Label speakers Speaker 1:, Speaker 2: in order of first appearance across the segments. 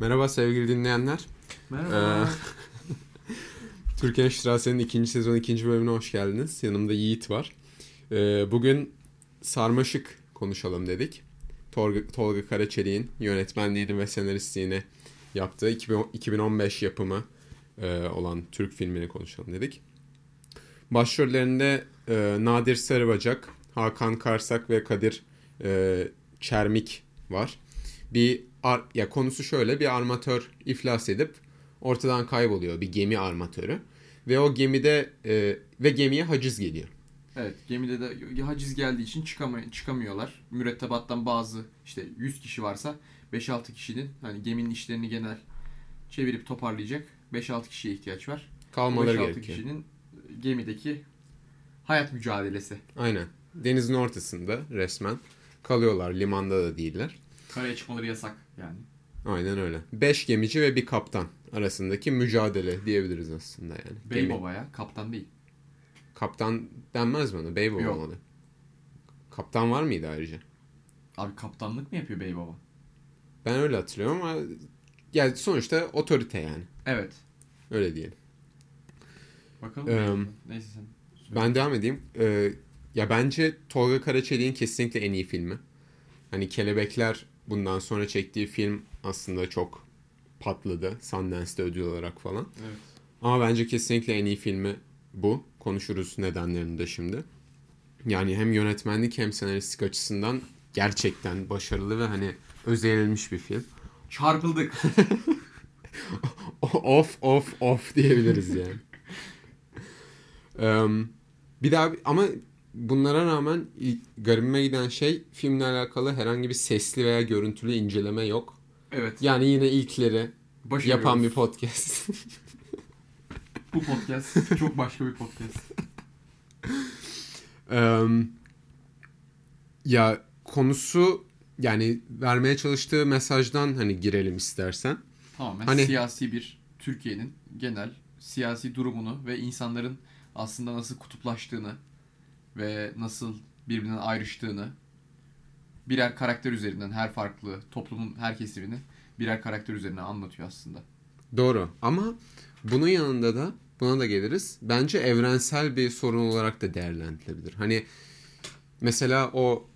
Speaker 1: Merhaba sevgili dinleyenler.
Speaker 2: Merhaba.
Speaker 1: Türkiye Şirasi'nin Ee, ikinci sezon ikinci bölümüne hoş geldiniz. Yanımda Yiğit var. Ee, bugün sarmaşık konuşalım dedik. Tolga, Tolga Karaçelik'in yönetmenliğini ve senaristliğini yaptığı 2010 2015 yapımı e, olan Türk filmini konuşalım dedik. Başrollerinde e, Nadir Sarıbacak, Hakan Karsak ve Kadir e, Çermik var. Bir ar- ya konusu şöyle bir armatör iflas edip ortadan kayboluyor bir gemi armatörü ve o gemide e, ve gemiye haciz geliyor.
Speaker 2: evet gemide de haciz geldiği için çıkamay- çıkamıyorlar. Mürettebattan bazı işte 100 kişi varsa 5-6 kişinin hani geminin işlerini genel çevirip toparlayacak 5-6 kişiye ihtiyaç var. Bu
Speaker 1: Kalmaları
Speaker 2: 5-6
Speaker 1: gerekiyor.
Speaker 2: kişinin gemideki hayat mücadelesi.
Speaker 1: Aynen. Denizin ortasında resmen kalıyorlar. Limanda da değiller.
Speaker 2: Karaya çıkmaları yasak yani.
Speaker 1: Aynen öyle. Beş gemici ve bir kaptan arasındaki mücadele diyebiliriz aslında yani.
Speaker 2: Bey baba ya kaptan değil.
Speaker 1: Kaptan denmez mi ona? Bey baba
Speaker 2: Yok.
Speaker 1: olmalı. Kaptan var mıydı ayrıca?
Speaker 2: Abi kaptanlık mı yapıyor bey baba?
Speaker 1: Ben öyle hatırlıyorum ama yani sonuçta otorite yani.
Speaker 2: Evet.
Speaker 1: Öyle diyelim.
Speaker 2: Bakalım.
Speaker 1: Eee,
Speaker 2: Neyse sen.
Speaker 1: Ben devam edeyim. Ee, ya bence Tolga Karaçelik'in kesinlikle en iyi filmi. Hani Kelebekler bundan sonra çektiği film aslında çok patladı. Sundance'de ödül olarak falan.
Speaker 2: Evet.
Speaker 1: Ama bence kesinlikle en iyi filmi bu. Konuşuruz nedenlerini de şimdi. Yani hem yönetmenlik hem senaristlik açısından gerçekten başarılı ve hani özerilmiş bir film.
Speaker 2: Çarpıldık.
Speaker 1: of of of diyebiliriz yani. Em, bir daha ama bunlara rağmen il- garibime giden şey filmle alakalı herhangi bir sesli veya görüntülü inceleme yok.
Speaker 2: Evet.
Speaker 1: Yani yine ilkleri
Speaker 2: Başarıyoruz.
Speaker 1: yapan bir podcast.
Speaker 2: Bu podcast çok başka bir podcast.
Speaker 1: Em, ya konusu yani vermeye çalıştığı mesajdan hani girelim istersen.
Speaker 2: Tamamen
Speaker 1: Hani-
Speaker 2: siyasi bir Türkiye'nin genel siyasi durumunu ve insanların aslında nasıl kutuplaştığını ve nasıl birbirinden ayrıştığını birer karakter üzerinden her farklı toplumun her kesimini birer karakter üzerine anlatıyor aslında.
Speaker 1: Doğru ama bunun yanında da buna da geliriz. Bence evrensel bir sorun olarak da değerlendirilebilir. Hani mesela o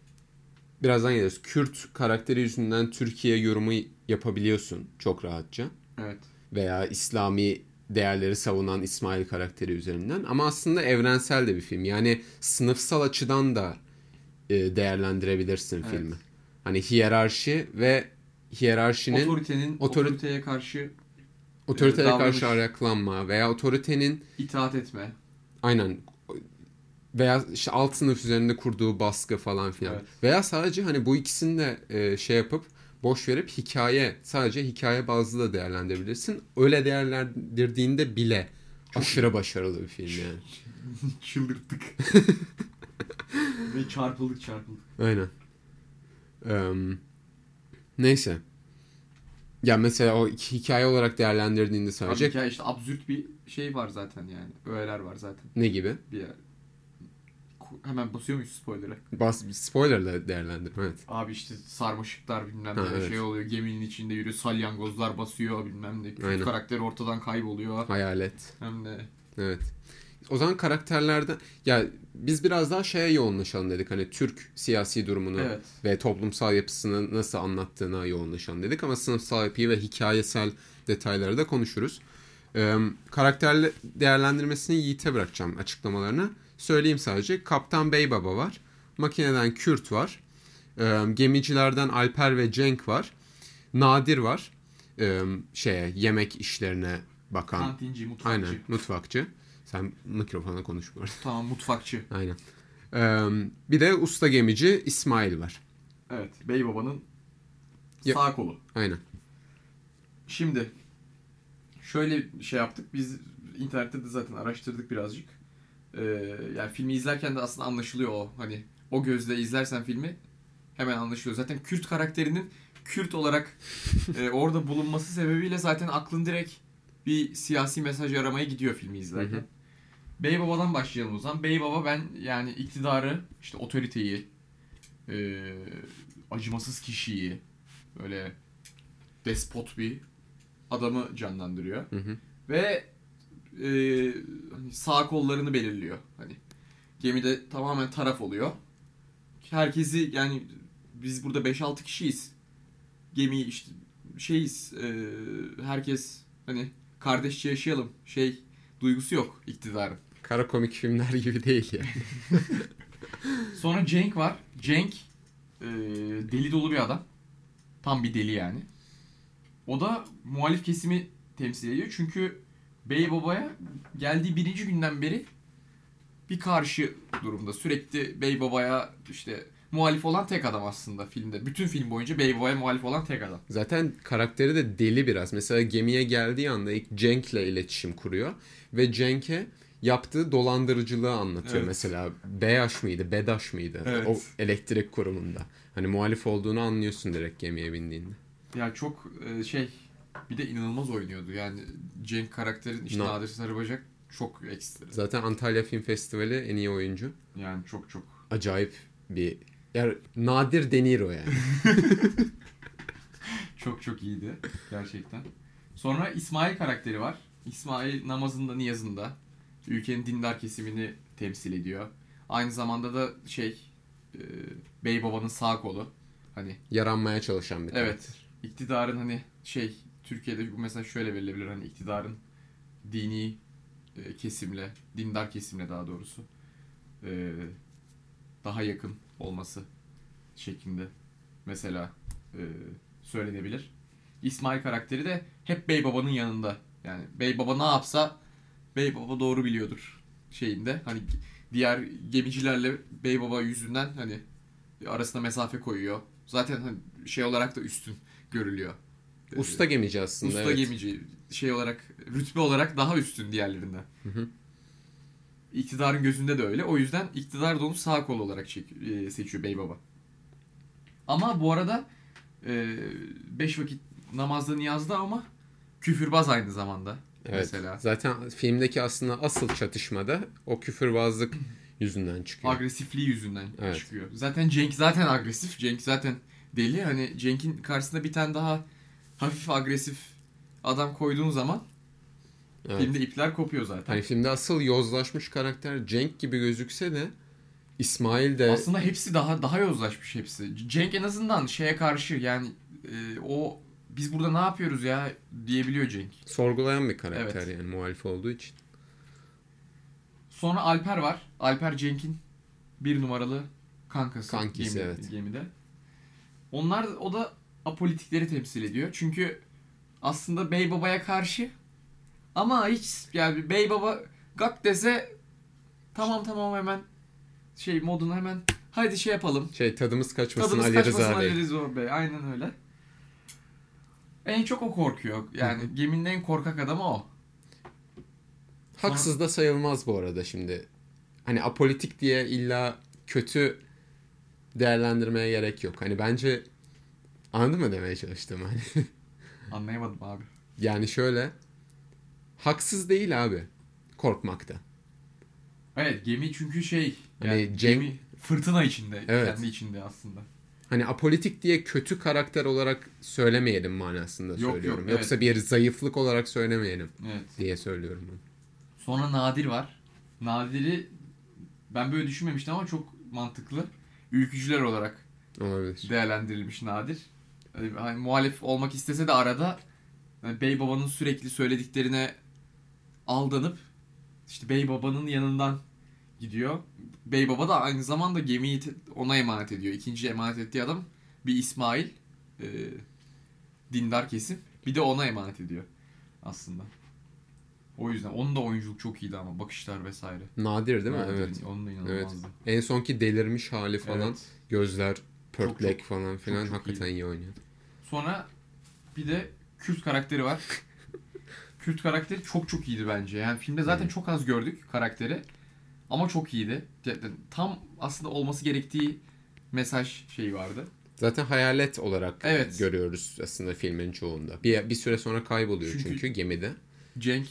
Speaker 1: birazdan geliriz. Kürt karakteri yüzünden Türkiye yorumu yapabiliyorsun çok rahatça.
Speaker 2: Evet.
Speaker 1: Veya İslami değerleri savunan İsmail karakteri üzerinden. Ama aslında evrensel de bir film. Yani sınıfsal açıdan da e, değerlendirebilirsin
Speaker 2: Evet.
Speaker 1: filmi. Hani hiyerarşi ve hiyerarşinin
Speaker 2: Otoritenin
Speaker 1: otori-
Speaker 2: otoriteye karşı
Speaker 1: otoriteye
Speaker 2: Ee, davranış.
Speaker 1: karşı ayaklanma veya otoritenin
Speaker 2: itaat etme.
Speaker 1: aynen veya işte alt sınıf üzerinde kurduğu baskı falan filan.
Speaker 2: Evet.
Speaker 1: Veya sadece hani bu ikisini de e, şey yapıp boş verip hikaye sadece hikaye bazlı da değerlendirebilirsin. Öyle değerlendirdiğinde bile aşırı başarılı bir film yani.
Speaker 2: Çıldırttık. ve çarpıldık çarpıldık.
Speaker 1: Aynen. Em, neyse. Ya mesela o iki hikaye olarak değerlendirdiğinde
Speaker 2: Abi
Speaker 1: sadece
Speaker 2: hikaye işte absürt bir şey var zaten yani. Öğeler var zaten.
Speaker 1: ne gibi?
Speaker 2: Bir yer. Ku- Hemen basıyor muyuz spoiler'e?
Speaker 1: Bas spoilerla değerlendir. Evet.
Speaker 2: Abi işte sarmaşıklar bilmem ne
Speaker 1: Ha, evet.
Speaker 2: şey oluyor. Geminin içinde yürüyor. Salyangozlar basıyor bilmem ne. Kürt
Speaker 1: Aynen.
Speaker 2: karakter ortadan kayboluyor.
Speaker 1: Hayalet.
Speaker 2: Hem de
Speaker 1: Evet. O zaman karakterlerde ya biz biraz daha şeye yoğunlaşalım dedik. Hani Türk siyasi durumunu
Speaker 2: evet.
Speaker 1: ve toplumsal yapısını nasıl anlattığına yoğunlaşalım dedik ama sınıfsal yapıyı ve hikayesel detayları da konuşuruz. Ee, karakter değerlendirmesini Yiğit'e bırakacağım açıklamalarını. Söyleyeyim sadece. Kaptan Beybaba var. Makineden Kürt var. Ee, gemicilerden Alper ve Cenk var. Nadir var. Ee, şeye yemek işlerine bakan.
Speaker 2: Kantinci, mutfakçı.
Speaker 1: Aynen mutfakçı. Sen mikrofona konuş bu arada.
Speaker 2: Tamam mutfakçı.
Speaker 1: Aynen. Ee, bir de usta gemici İsmail var.
Speaker 2: Evet. Bey babanın
Speaker 1: Ya-
Speaker 2: sağ kolu.
Speaker 1: Aynen.
Speaker 2: Şimdi şöyle şey yaptık. Biz internette de zaten araştırdık birazcık. Ee, yani filmi izlerken de aslında anlaşılıyor o. Hani o gözle izlersen filmi hemen anlaşılıyor. Zaten Kürt karakterinin Kürt olarak e, orada bulunması sebebiyle zaten aklın direkt bir siyasi mesaj aramaya gidiyor filmi
Speaker 1: Hı
Speaker 2: izlerken.
Speaker 1: hı.
Speaker 2: Bey Baba'dan başlayalım o zaman. Bey Baba ben yani iktidarı, işte otoriteyi, e, acımasız kişiyi, böyle despot bir adamı canlandırıyor.
Speaker 1: Hı hı.
Speaker 2: Ve e, hani sağ kollarını belirliyor. Hani gemide tamamen taraf oluyor. Herkesi yani biz burada 5-6 kişiyiz. Gemiyi işte şeyiz. e, herkes hani kardeşçe yaşayalım. Şey duygusu yok iktidarın.
Speaker 1: Kara komik filmler gibi değil ya.
Speaker 2: Sonra Cenk var. Cenk e, deli dolu bir adam. Tam bir deli yani. O da muhalif kesimi temsil ediyor. Çünkü Bey Baba'ya geldiği birinci günden beri bir karşı durumda. Sürekli Bey Baba'ya işte muhalif olan tek adam aslında filmde. Bütün film boyunca Bey Baba'ya muhalif olan tek adam.
Speaker 1: Zaten karakteri de deli biraz. Mesela gemiye geldiği anda ilk Cenk'le iletişim kuruyor ve Cenk'e yaptığı dolandırıcılığı anlatıyor
Speaker 2: Evet.
Speaker 1: mesela. Beyaş mıydı, Bedaş mıydı?
Speaker 2: Evet.
Speaker 1: O elektrik kurumunda. Hani muhalif olduğunu anlıyorsun direkt gemiye bindiğinde.
Speaker 2: Ya çok e, şey bir de inanılmaz oynuyordu. Yani Cenk karakterin işte
Speaker 1: No.
Speaker 2: Nadir Sarıbacak çok ekstra.
Speaker 1: Zaten Antalya Film Festivali en iyi oyuncu.
Speaker 2: Yani çok çok
Speaker 1: Acayip bir yani nadir De Niro yani.
Speaker 2: Çok çok iyiydi gerçekten. Sonra İsmail karakteri var. İsmail namazında niyazında ülkenin dindar kesimini temsil ediyor. Aynı zamanda da şey e, Bey Baba'nın sağ kolu. Hani
Speaker 1: Yaranmaya çalışan bir karakter.
Speaker 2: evet iktidarın hani şey Türkiye'de bu mesela şöyle verilebilir hani iktidarın dini e, kesimle dindar kesimle daha doğrusu e, daha yakın olması şeklinde mesela e, söylenebilir. İsmail karakteri de hep Bey Baba'nın yanında. Yani Bey Baba ne yapsa Bey Baba doğru biliyordur şeyinde. Hani diğer gemicilerle Bey Baba yüzünden hani arasına mesafe koyuyor. Zaten hani şey olarak da üstün görülüyor.
Speaker 1: Usta
Speaker 2: Ee,
Speaker 1: gemici aslında.
Speaker 2: usta
Speaker 1: evet.
Speaker 2: gemici şey olarak rütbe olarak daha üstün diğerlerinden.
Speaker 1: Hı hı.
Speaker 2: İktidarın gözünde de öyle. O yüzden iktidar da onu sağ kol olarak çek- e, seçiyor bey baba. Ama bu arada 5 vakit namazda niyazda ama küfürbaz aynı zamanda.
Speaker 1: Evet.
Speaker 2: Mesela.
Speaker 1: Zaten filmdeki aslında asıl çatışmada o küfürbazlık yüzünden çıkıyor.
Speaker 2: Agresifliği yüzünden
Speaker 1: Evet.
Speaker 2: çıkıyor. Zaten Cenk zaten agresif. Cenk zaten deli. Hani Cenk'in karşısında bir tane daha hafif agresif adam koyduğun zaman
Speaker 1: Evet.
Speaker 2: filmde ipler kopuyor zaten.
Speaker 1: Hani filmde asıl yozlaşmış karakter Cenk gibi gözükse de İsmail de
Speaker 2: Aslında hepsi daha daha yozlaşmış hepsi. C- Cenk en azından şeye karşı yani e, o biz burada ne yapıyoruz ya diyebiliyor Cenk.
Speaker 1: sorgulayan bir karakter
Speaker 2: Evet.
Speaker 1: yani muhalif olduğu için.
Speaker 2: Sonra Alper var. Alper Cenk'in bir numaralı kankası.
Speaker 1: Kankisi, evet.
Speaker 2: Gemide. Onlar o da apolitikleri temsil ediyor. Çünkü aslında Bey Baba'ya karşı ama hiç yani Bey Baba gak dese tamam tamam hemen şey modunu hemen hadi şey yapalım
Speaker 1: Şey tadımız kaçmasın
Speaker 2: Tadımız
Speaker 1: Ali Rıza
Speaker 2: kaçmasın
Speaker 1: Bey.
Speaker 2: Ali Rıza Bey. Aynen öyle. En çok o korkuyor.
Speaker 1: Hı
Speaker 2: Yani geminin en korkak adamı o.
Speaker 1: Haksız da sayılmaz bu arada şimdi. Hani apolitik diye illa kötü değerlendirmeye gerek yok. Hani bence anladın mı demeye çalıştım hani.
Speaker 2: Anlayamadım abi.
Speaker 1: Yani şöyle haksız değil abi korkmakta.
Speaker 2: Evet gemi çünkü şey. Yani
Speaker 1: Hani Cem-
Speaker 2: gemi fırtına içinde.
Speaker 1: Evet.
Speaker 2: Kendi içinde aslında.
Speaker 1: Hani apolitik diye kötü karakter olarak söylemeyelim manasında
Speaker 2: Yok, yok,
Speaker 1: söylüyorum.
Speaker 2: evet.
Speaker 1: Yoksa bir zayıflık olarak söylemeyelim
Speaker 2: Evet.
Speaker 1: diye söylüyorum ben.
Speaker 2: Sonra Nadir var. Nadir'i ben böyle düşünmemiştim ama çok mantıklı. Ülkücüler olarak
Speaker 1: Olabilir.
Speaker 2: değerlendirilmiş nadir. Hani, hani muhalif olmak istese de arada hani Bey Baba'nın sürekli söylediklerine aldanıp işte Bey Baba'nın yanından gidiyor. Bey Baba da aynı zamanda gemiyi te- ona emanet ediyor. İkinci emanet ettiği adam bir İsmail e, dindar kesim. Bir de ona emanet ediyor aslında. O yüzden onun da oyunculuk çok iyiydi ama bakışlar vesaire.
Speaker 1: Nadir değil mi?
Speaker 2: Nadir'in-
Speaker 1: Evet.
Speaker 2: Onun da inanılmazdı.
Speaker 1: En sonki delirmiş hali falan,
Speaker 2: Evet.
Speaker 1: gözler pörtlek falan filan
Speaker 2: çok
Speaker 1: hakikaten iyi, oynuyor.
Speaker 2: Sonra bir de Kürt karakteri var. Kürt karakteri çok çok iyiydi bence. Yani filmde zaten
Speaker 1: Hı.
Speaker 2: çok az gördük karakteri. Ama çok iyiydi. Gerçekten Tam aslında olması gerektiği mesaj şeyi vardı.
Speaker 1: Zaten hayalet olarak
Speaker 2: Evet.
Speaker 1: görüyoruz aslında filmin çoğunda. Bir, bir süre sonra kayboluyor çünkü,
Speaker 2: Çünkü-
Speaker 1: gemide.
Speaker 2: Cenk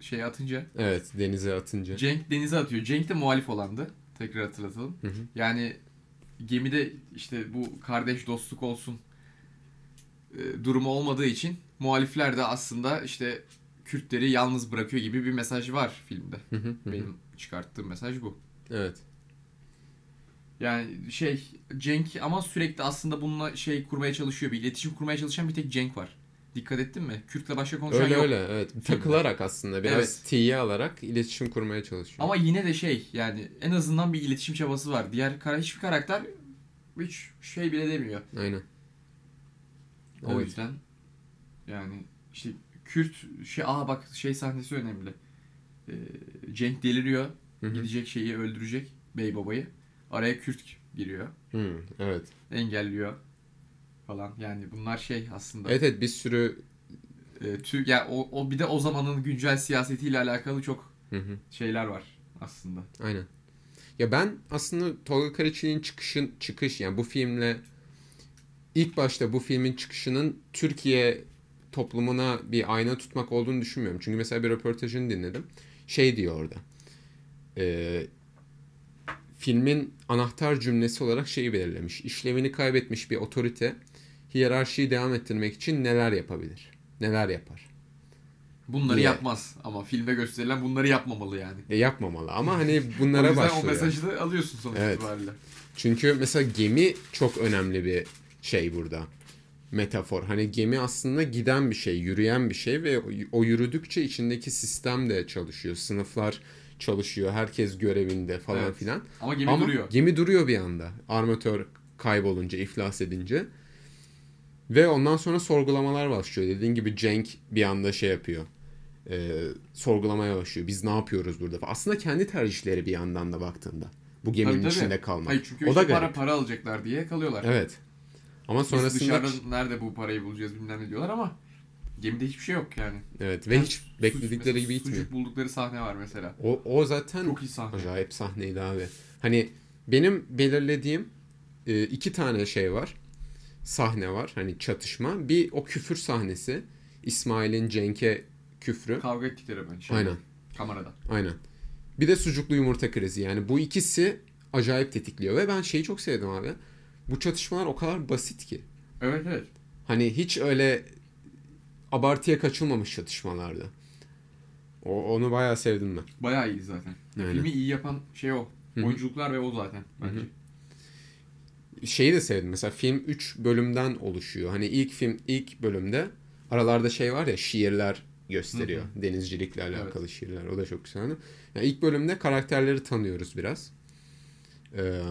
Speaker 2: şey atınca.
Speaker 1: Evet denize atınca.
Speaker 2: Cenk denize atıyor. Cenk de muhalif olandı. Tekrar hatırlatalım.
Speaker 1: Hı hı.
Speaker 2: Yani gemide işte bu kardeş dostluk olsun e, durumu olmadığı için muhalifler de aslında işte Kürtleri yalnız bırakıyor gibi bir mesaj var filmde.
Speaker 1: Hı hı, hı.
Speaker 2: Benim çıkarttığım mesaj bu.
Speaker 1: Evet.
Speaker 2: Yani şey Cenk ama sürekli aslında bununla şey kurmaya çalışıyor. Bir iletişim kurmaya çalışan bir tek Cenk var. Dikkat ettin mi? Kürt'le başka konuşan
Speaker 1: Öyle
Speaker 2: yok.
Speaker 1: öyle evet. Takılarak aslında biraz
Speaker 2: Evet.
Speaker 1: tiye alarak iletişim kurmaya çalışıyor.
Speaker 2: Ama yine de şey yani en azından bir iletişim çabası var. Diğer kara hiçbir karakter hiç şey bile demiyor.
Speaker 1: Aynen.
Speaker 2: O
Speaker 1: Evet.
Speaker 2: yüzden yani işte Kürt şey aa bak şey sahnesi önemli. Ee, Cenk deliriyor.
Speaker 1: Hı hı.
Speaker 2: Gidecek şeyi öldürecek bey babayı. Araya Kürt giriyor.
Speaker 1: Hı, evet.
Speaker 2: Engelliyor falan. Yani bunlar şey aslında.
Speaker 1: Evet evet bir sürü
Speaker 2: Ee, tü, ya o, o bir de o zamanın güncel siyasetiyle alakalı çok
Speaker 1: Hı hı,
Speaker 2: şeyler var aslında.
Speaker 1: aynen. Ya ben aslında Tolga Karaçelik'in çıkışın çıkış yani bu filmle ilk başta bu filmin çıkışının Türkiye toplumuna bir ayna tutmak olduğunu düşünmüyorum. Çünkü mesela bir röportajını dinledim. Şey diyor orada. Ee, filmin anahtar cümlesi olarak şeyi belirlemiş. İşlevini kaybetmiş bir otorite hiyerarşiyi devam ettirmek için neler yapabilir? Neler yapar?
Speaker 2: Bunları
Speaker 1: Niye?
Speaker 2: yapmaz ama filmde gösterilen bunları yapmamalı yani.
Speaker 1: E, yapmamalı ama hani
Speaker 2: O
Speaker 1: bunlara
Speaker 2: yüzden
Speaker 1: başvuruyor.
Speaker 2: o mesajı da alıyorsun sonuç
Speaker 1: Evet.
Speaker 2: itibariyle.
Speaker 1: Çünkü mesela gemi çok önemli bir şey burada. Metafor. Hani gemi aslında giden bir şey, yürüyen bir şey ve o yürüdükçe içindeki sistem de çalışıyor. Sınıflar çalışıyor, herkes görevinde falan
Speaker 2: Evet.
Speaker 1: filan.
Speaker 2: Ama gemi
Speaker 1: Ama
Speaker 2: duruyor.
Speaker 1: gemi duruyor bir anda. Armatör kaybolunca, iflas edince. Ve ondan sonra sorgulamalar başlıyor. Dediğin gibi Cenk bir anda şey yapıyor. Ee, sorgulamaya başlıyor. Biz ne yapıyoruz burada? Aslında kendi tercihleri bir yandan da baktığında. Bu geminin
Speaker 2: Tabii, tabii.
Speaker 1: içinde kalmak.
Speaker 2: Hayır çünkü
Speaker 1: o da
Speaker 2: işte
Speaker 1: garip.
Speaker 2: para para alacaklar diye kalıyorlar.
Speaker 1: Evet. Ama
Speaker 2: Biz
Speaker 1: sonrasında
Speaker 2: dışarıda nerede bu parayı bulacağız bilmem ne diyorlar ama gemide hiçbir şey yok yani.
Speaker 1: evet ve hiç
Speaker 2: Sucuk-
Speaker 1: bekledikleri gibi
Speaker 2: mesela
Speaker 1: gitmiyor.
Speaker 2: Sucuk buldukları sahne var mesela.
Speaker 1: O, o zaten
Speaker 2: Çok iyi sahne.
Speaker 1: Acayip sahneydi abi. Hani benim belirlediğim e, iki tane şey var. Sahne var. Hani çatışma. Bir o küfür sahnesi. İsmail'in Cenk'e küfrü.
Speaker 2: Kavga ettikleri ben. Şey,
Speaker 1: Aynen.
Speaker 2: Kamerada.
Speaker 1: Aynen. Bir de sucuklu yumurta krizi. Yani bu ikisi acayip tetikliyor. Ve ben şeyi çok sevdim abi. Bu çatışmalar o kadar basit ki.
Speaker 2: Evet evet.
Speaker 1: Hani hiç öyle abartıya kaçılmamış çatışmalardı. O, onu bayağı sevdim ben.
Speaker 2: Bayağı iyiydi zaten.
Speaker 1: Aynen.
Speaker 2: Filmi iyi yapan şey o.
Speaker 1: Hı hı.
Speaker 2: Oyunculuklar ve o zaten bence.
Speaker 1: şeyi de sevdim. Mesela film 3 bölümden oluşuyor. Hani ilk film ilk bölümde aralarda şey var ya şiirler gösteriyor. Denizcilikle alakalı şiirler. O da çok güzel. Yani ilk bölümde karakterleri tanıyoruz biraz. e,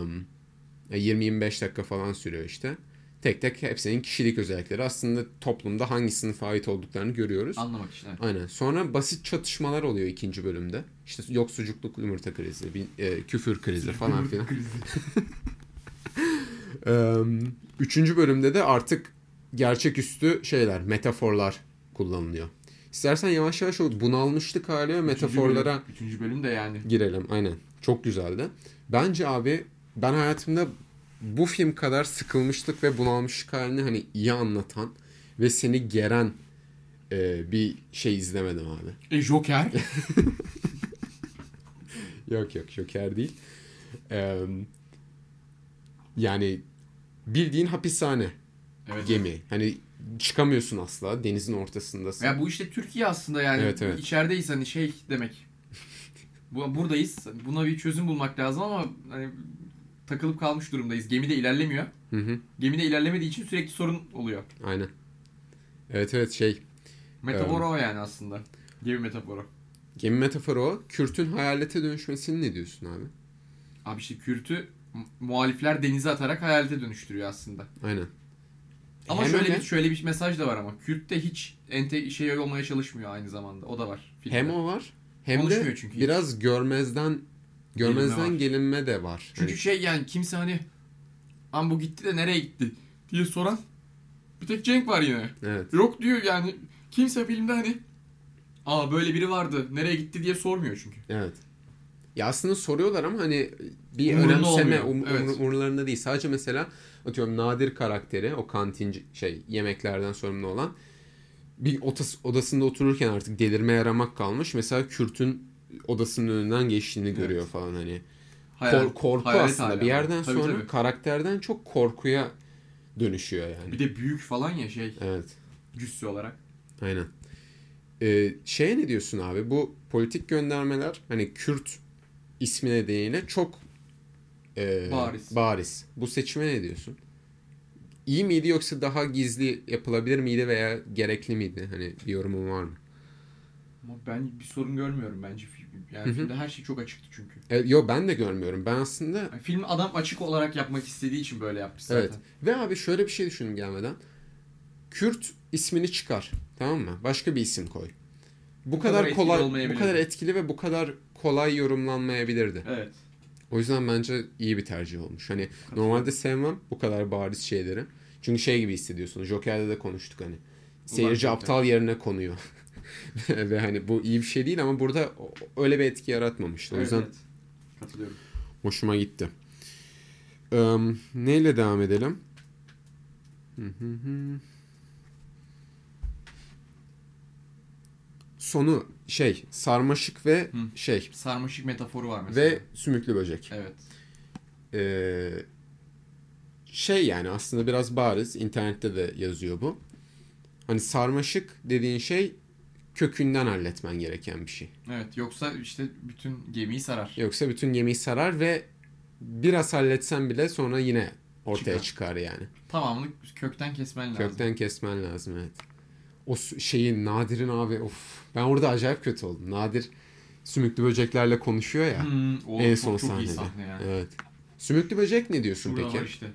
Speaker 1: Ee, ya 20-25 dakika falan sürüyor işte. Tek tek hepsinin kişilik özellikleri. Aslında toplumda hangi sınıfa ait olduklarını görüyoruz.
Speaker 2: Anlamak için evet.
Speaker 1: Aynen. Sonra basit çatışmalar oluyor ikinci bölümde. İşte yok sucukluk yumurta krizi, bir, e, küfür krizi falan filan.
Speaker 2: Krizi.
Speaker 1: Ee, Üçüncü bölümde de artık gerçeküstü şeyler, metaforlar kullanılıyor. İstersen yavaş yavaş o bunalmışlık hali ve metaforlara
Speaker 2: Üçüncü bölüm, üçüncü bölüm de yani.
Speaker 1: girelim. Aynen. Çok güzeldi. Bence abi ben hayatımda bu film kadar sıkılmışlık ve bunalmışlık halini hani iyi anlatan ve seni geren e, bir şey izlemedim abi.
Speaker 2: E Joker.
Speaker 1: Yok yok Joker değil. Ee, yani bildiğin hapishane.
Speaker 2: evet.
Speaker 1: gemi. Hani çıkamıyorsun asla. Denizin ortasındasın.
Speaker 2: Ya bu işte Türkiye aslında yani
Speaker 1: Evet, evet.
Speaker 2: içerideyiz hani şey demek. Bu buradayız. Buna bir çözüm bulmak lazım ama hani takılıp kalmış durumdayız. Gemi de ilerlemiyor.
Speaker 1: Hı hı.
Speaker 2: Gemi de ilerlemediği için sürekli sorun oluyor.
Speaker 1: Aynen. Evet evet şey.
Speaker 2: Metafor o yani aslında. Gemi metaforu.
Speaker 1: Gemi metaforu o. Kürt'ün hayalete dönüşmesini ne diyorsun abi?
Speaker 2: Abi işte Kürt'ü mu- muhalifler denize atarak hayalete dönüştürüyor aslında.
Speaker 1: Aynen.
Speaker 2: Ama
Speaker 1: Hem
Speaker 2: şöyle
Speaker 1: öyle.
Speaker 2: bir şöyle bir mesaj da var ama Kürt de hiç ente şey olmaya çalışmıyor aynı zamanda. O da var. filmde.
Speaker 1: Hem o var hem de
Speaker 2: Konuşmuyor çünkü hiç.
Speaker 1: biraz görmezden görmezden
Speaker 2: Gelinme var.
Speaker 1: gelinme de var.
Speaker 2: Çünkü
Speaker 1: Hani
Speaker 2: şey yani kimse hani an bu gitti de nereye gitti diye soran bir tek Cenk var yine.
Speaker 1: evet.
Speaker 2: Yok diyor yani kimse filmde hani aa böyle biri vardı nereye gitti diye sormuyor çünkü.
Speaker 1: Evet. Ya aslında soruyorlar ama hani bir
Speaker 2: Umurunda
Speaker 1: önemseme um,
Speaker 2: olmuyor. Evet.
Speaker 1: umur- umurlarında değil. Sadece mesela atıyorum Nadir karakteri o kantinci şey yemeklerden sorumlu olan bir otas- odasında otururken artık delirmeye yaramak kalmış. Mesela Kürt'ün odasının önünden geçtiğini
Speaker 2: Evet.
Speaker 1: görüyor falan hani.
Speaker 2: Hayal-
Speaker 1: Kor- korku
Speaker 2: hayalet
Speaker 1: aslında
Speaker 2: hala.
Speaker 1: bir yerden
Speaker 2: Tabii,
Speaker 1: sonra
Speaker 2: tabii.
Speaker 1: karakterden çok korkuya dönüşüyor yani.
Speaker 2: Bir de büyük falan ya şey
Speaker 1: Evet.
Speaker 2: cüssü olarak.
Speaker 1: Aynen. Ee, şeye ne diyorsun abi? Bu politik göndermeler hani Kürt ismi nedeniyle çok e,
Speaker 2: Bariz.
Speaker 1: bariz. Bu seçime ne diyorsun? İyi miydi yoksa daha gizli yapılabilir miydi veya gerekli miydi? Hani bir yorumun var mı?
Speaker 2: Ama ben bir sorun görmüyorum bence film. Yani
Speaker 1: Hı hı.
Speaker 2: filmde her şey çok açıktı çünkü.
Speaker 1: E, yo ben de görmüyorum. Ben aslında
Speaker 2: Yani film adam açık olarak yapmak istediği için böyle yapmış zaten.
Speaker 1: Evet. Ve abi şöyle bir şey düşündüm gelmeden. Kürt ismini çıkar. Tamam mı? Başka bir isim koy. Bu,
Speaker 2: kadar
Speaker 1: kadar,
Speaker 2: etkili
Speaker 1: kolay, bu
Speaker 2: olmayabilirdi.
Speaker 1: kadar etkili ve bu kadar kolay yorumlanmayabilirdi.
Speaker 2: Evet.
Speaker 1: O yüzden bence iyi bir tercih olmuş. Hani normalde sevmem bu kadar bariz şeyleri. Çünkü şey gibi hissediyorsun. Joker'de de konuştuk hani. Seyirci
Speaker 2: Joker.
Speaker 1: aptal yerine konuyor. ve hani bu iyi bir şey değil ama burada o- öyle bir etki yaratmamıştı. O
Speaker 2: Evet,
Speaker 1: yüzden
Speaker 2: evet. Katılıyorum.
Speaker 1: Hoşuma gitti. Eee, neyle devam edelim? Sonu şey sarmaşık ve
Speaker 2: Hı.
Speaker 1: şey
Speaker 2: Sarmaşık metaforu var mesela.
Speaker 1: ve sümüklü böcek.
Speaker 2: Evet.
Speaker 1: Eee, Ee, şey yani aslında biraz bariz internette de yazıyor bu. Hani sarmaşık dediğin şey kökünden halletmen gereken bir şey.
Speaker 2: Evet. Yoksa işte bütün gemiyi sarar.
Speaker 1: Yoksa bütün gemiyi sarar ve biraz halletsen bile sonra yine ortaya çıkar, yani.
Speaker 2: Tamamını kökten kesmen lazım.
Speaker 1: Kökten kesmen lazım evet. O su- şeyi Nadir'in abi of ben orada acayip kötü oldum. Nadir sümüklü böceklerle konuşuyor ya.
Speaker 2: Hmm, oğlum,
Speaker 1: en
Speaker 2: çok-
Speaker 1: son
Speaker 2: çok, iyi
Speaker 1: sahnede.
Speaker 2: sahne yani.
Speaker 1: Evet. Sümüklü böcek ne diyorsun
Speaker 2: Şurada
Speaker 1: peki?
Speaker 2: var işte.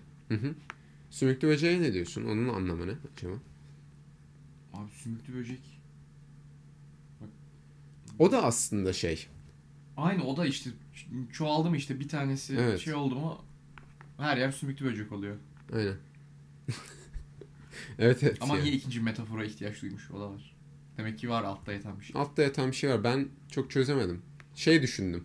Speaker 1: Sümüklü böceğe ne diyorsun? Onun anlamı ne acaba?
Speaker 2: Abi sümüklü böcek.
Speaker 1: O da aslında şey.
Speaker 2: Aynı o da işte ç- çoğaldı mı işte bir tanesi
Speaker 1: Evet.
Speaker 2: şey oldu mu her yer sümüklü böcek oluyor.
Speaker 1: Aynen. evet evet.
Speaker 2: Ama
Speaker 1: yani.
Speaker 2: niye ikinci metafora ihtiyaç duymuş o da var. Demek ki var altta yatan bir şey.
Speaker 1: Altta yatan bir şey var. Ben çok çözemedim. Şey düşündüm.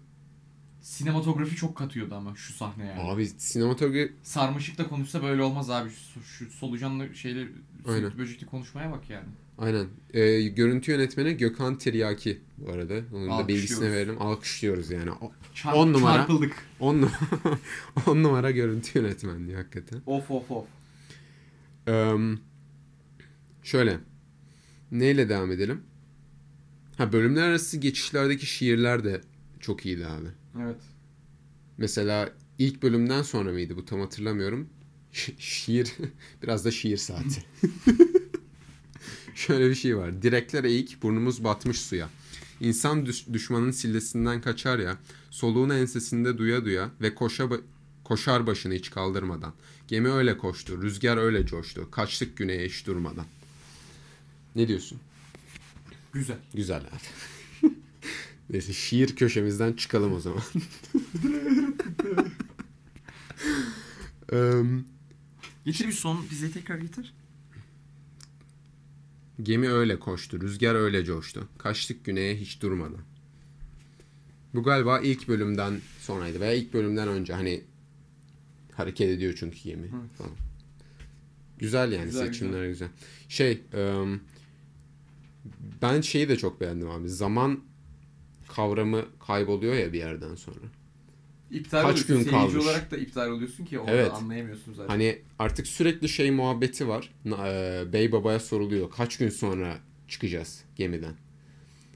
Speaker 2: Sinematografi çok katıyordu ama şu sahne yani.
Speaker 1: Abi sinematografi
Speaker 2: Sarmaşıkla konuşsa böyle olmaz abi. Şu, şu solucanlı şeyle
Speaker 1: Aynen.
Speaker 2: sümüklü böcekli konuşmaya bak yani.
Speaker 1: Aynen. Ee, görüntü yönetmeni Gökhan Tiryaki bu arada. Onun da
Speaker 2: Alkışlıyoruz.
Speaker 1: bilgisini verelim. Alkışlıyoruz yani. O-
Speaker 2: Çar-
Speaker 1: On numara.
Speaker 2: Çarpıldık.
Speaker 1: On, numara, on numara görüntü yönetmenliği hakikaten.
Speaker 2: Of of of.
Speaker 1: Ee, şöyle. Neyle devam edelim? Ha bölümler arası geçişlerdeki şiirler de çok iyiydi abi.
Speaker 2: Evet.
Speaker 1: Mesela ilk bölümden sonra mıydı bu tam hatırlamıyorum. Şi- şiir biraz da şiir saati. Şöyle bir şey var. Direkler eğik, burnumuz batmış suya. İnsan düş- düşmanın sillesinden kaçar ya, soluğunu ensesinde duya duya ve koşa ba- koşar başını hiç kaldırmadan. Gemi öyle koştu, rüzgar öyle coştu. Kaçtık güneye hiç durmadan. Ne diyorsun?
Speaker 2: Güzel.
Speaker 1: Güzel abi. Neyse şiir köşemizden çıkalım o zaman. Em,
Speaker 2: Getir bir son bize tekrar getir.
Speaker 1: gemi öyle koştu, rüzgar öyle coştu. Kaçtık güneye hiç durmadan. Bu galiba ilk bölümden sonraydı veya ilk bölümden önce hani hareket ediyor çünkü gemi
Speaker 2: Evet.
Speaker 1: falan. Güzel yani
Speaker 2: Güzel,
Speaker 1: seçimler güzel. Şey em, ben şeyi de çok beğendim abi. Zaman kavramı kayboluyor ya bir yerden sonra.
Speaker 2: İptal
Speaker 1: Kaç
Speaker 2: oluyorsun.
Speaker 1: gün
Speaker 2: Seyirci
Speaker 1: kalmış?
Speaker 2: olarak da iptal oluyorsun ki onu
Speaker 1: Evet.
Speaker 2: anlayamıyorsun zaten.
Speaker 1: Hani artık sürekli şey muhabbeti var. Na- e, Bey babaya soruluyor. Kaç gün sonra çıkacağız gemiden?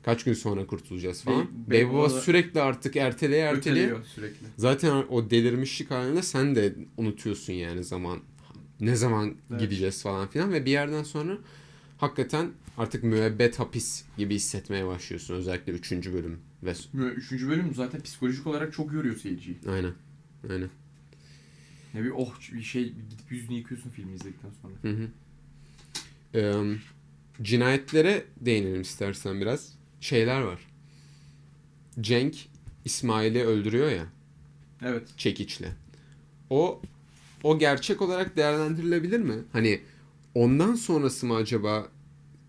Speaker 1: Kaç gün sonra kurtulacağız falan.
Speaker 2: Bey-
Speaker 1: Bey,
Speaker 2: bey
Speaker 1: baba
Speaker 2: baba-
Speaker 1: sürekli artık erteleye erteleye.
Speaker 2: Öteliyor sürekli.
Speaker 1: Zaten o delirmişlik halinde sen de unutuyorsun yani zaman. Ne zaman
Speaker 2: Evet.
Speaker 1: gideceğiz falan filan. Ve bir yerden sonra hakikaten artık müebbet hapis gibi hissetmeye başlıyorsun. Özellikle 3. bölüm ve
Speaker 2: Üçüncü bölüm zaten psikolojik olarak çok yoruyor seyirciyi.
Speaker 1: Aynen. Aynen.
Speaker 2: Ne bir oh bir şey gidip yüzünü yıkıyorsun filmi izledikten sonra.
Speaker 1: Hı hı. Ee, cinayetlere değinelim istersen biraz. Şeyler var. Cenk İsmail'i öldürüyor ya
Speaker 2: Evet.
Speaker 1: çekiçle. O o gerçek olarak değerlendirilebilir mi? Hani ondan sonrası mı acaba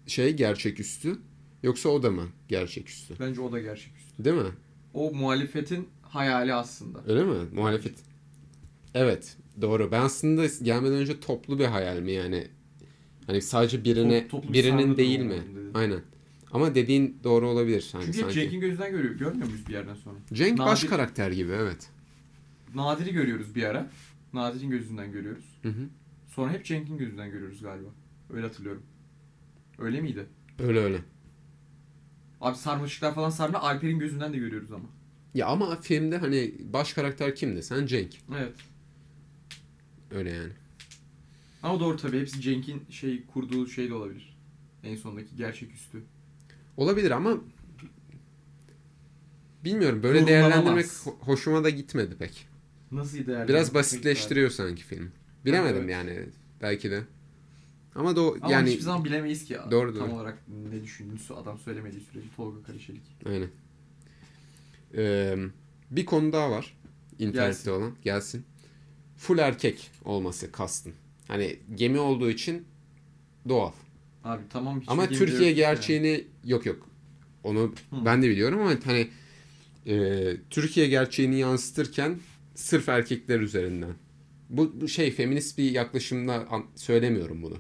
Speaker 1: şey gerçeküstü yoksa o da mı gerçeküstü?
Speaker 2: Bence o da gerçeküstü.
Speaker 1: Değil mi?
Speaker 2: O muhalefetin hayali aslında.
Speaker 1: Öyle mi? Muhalefet. Evet. Doğru. Ben aslında gelmeden önce toplu bir hayal mi yani? Hani sadece birine
Speaker 2: Top- toplu bir
Speaker 1: birinin
Speaker 2: sahnede
Speaker 1: değil
Speaker 2: doğru
Speaker 1: mi?
Speaker 2: oldum dedi.
Speaker 1: Aynen. Ama dediğin doğru olabilir. Hani
Speaker 2: Çünkü hep
Speaker 1: sanki.
Speaker 2: Jack'in gözünden görüyor, görmüyor muyuz bir yerden sonra?
Speaker 1: Cenk baş
Speaker 2: Nadir-
Speaker 1: karakter gibi evet.
Speaker 2: Nadir'i görüyoruz bir ara. Nadir'in gözünden görüyoruz.
Speaker 1: Hı hı.
Speaker 2: Sonra hep Cenk'in gözünden görüyoruz galiba. Öyle hatırlıyorum. Öyle miydi?
Speaker 1: Öyle öyle.
Speaker 2: Abi sarmaşıklar falan sarma Alper'in gözünden de görüyoruz ama.
Speaker 1: Ya ama filmde hani baş karakter kimdi? Sen Cenk.
Speaker 2: Evet.
Speaker 1: Öyle yani.
Speaker 2: Ama doğru tabii hepsi Cenk'in şey kurduğu şey de olabilir. En sondaki gerçeküstü.
Speaker 1: Olabilir ama bilmiyorum böyle
Speaker 2: Yorumlanamaz.
Speaker 1: değerlendirmek ho- hoşuma da gitmedi pek.
Speaker 2: Nasıl değerli?
Speaker 1: Biraz basitleştiriyor sanki film. Bilemedim
Speaker 2: Evet.
Speaker 1: yani belki de. Ama da o-
Speaker 2: Ama
Speaker 1: yani
Speaker 2: hiçbir zaman bilemeyiz ki
Speaker 1: Doğru,
Speaker 2: tam
Speaker 1: doğru.
Speaker 2: olarak ne düşündüğünü su- adam söylemediği sürece Tolga Karışelik.
Speaker 1: Aynen. Ee, bir konu daha var. İnternette
Speaker 2: Gelsin.
Speaker 1: olan. Gelsin. Full erkek olması kastın. Hani gemi olduğu için doğal.
Speaker 2: şey Abi tamam şey hiç
Speaker 1: ama
Speaker 2: bilgim de yok
Speaker 1: Türkiye
Speaker 2: yani.
Speaker 1: gerçeğini yok yok. Onu
Speaker 2: Hı.
Speaker 1: ben de biliyorum ama hani e, Türkiye gerçeğini yansıtırken sırf erkekler üzerinden. Bu, bu şey feminist bir yaklaşımla an- söylemiyorum bunu.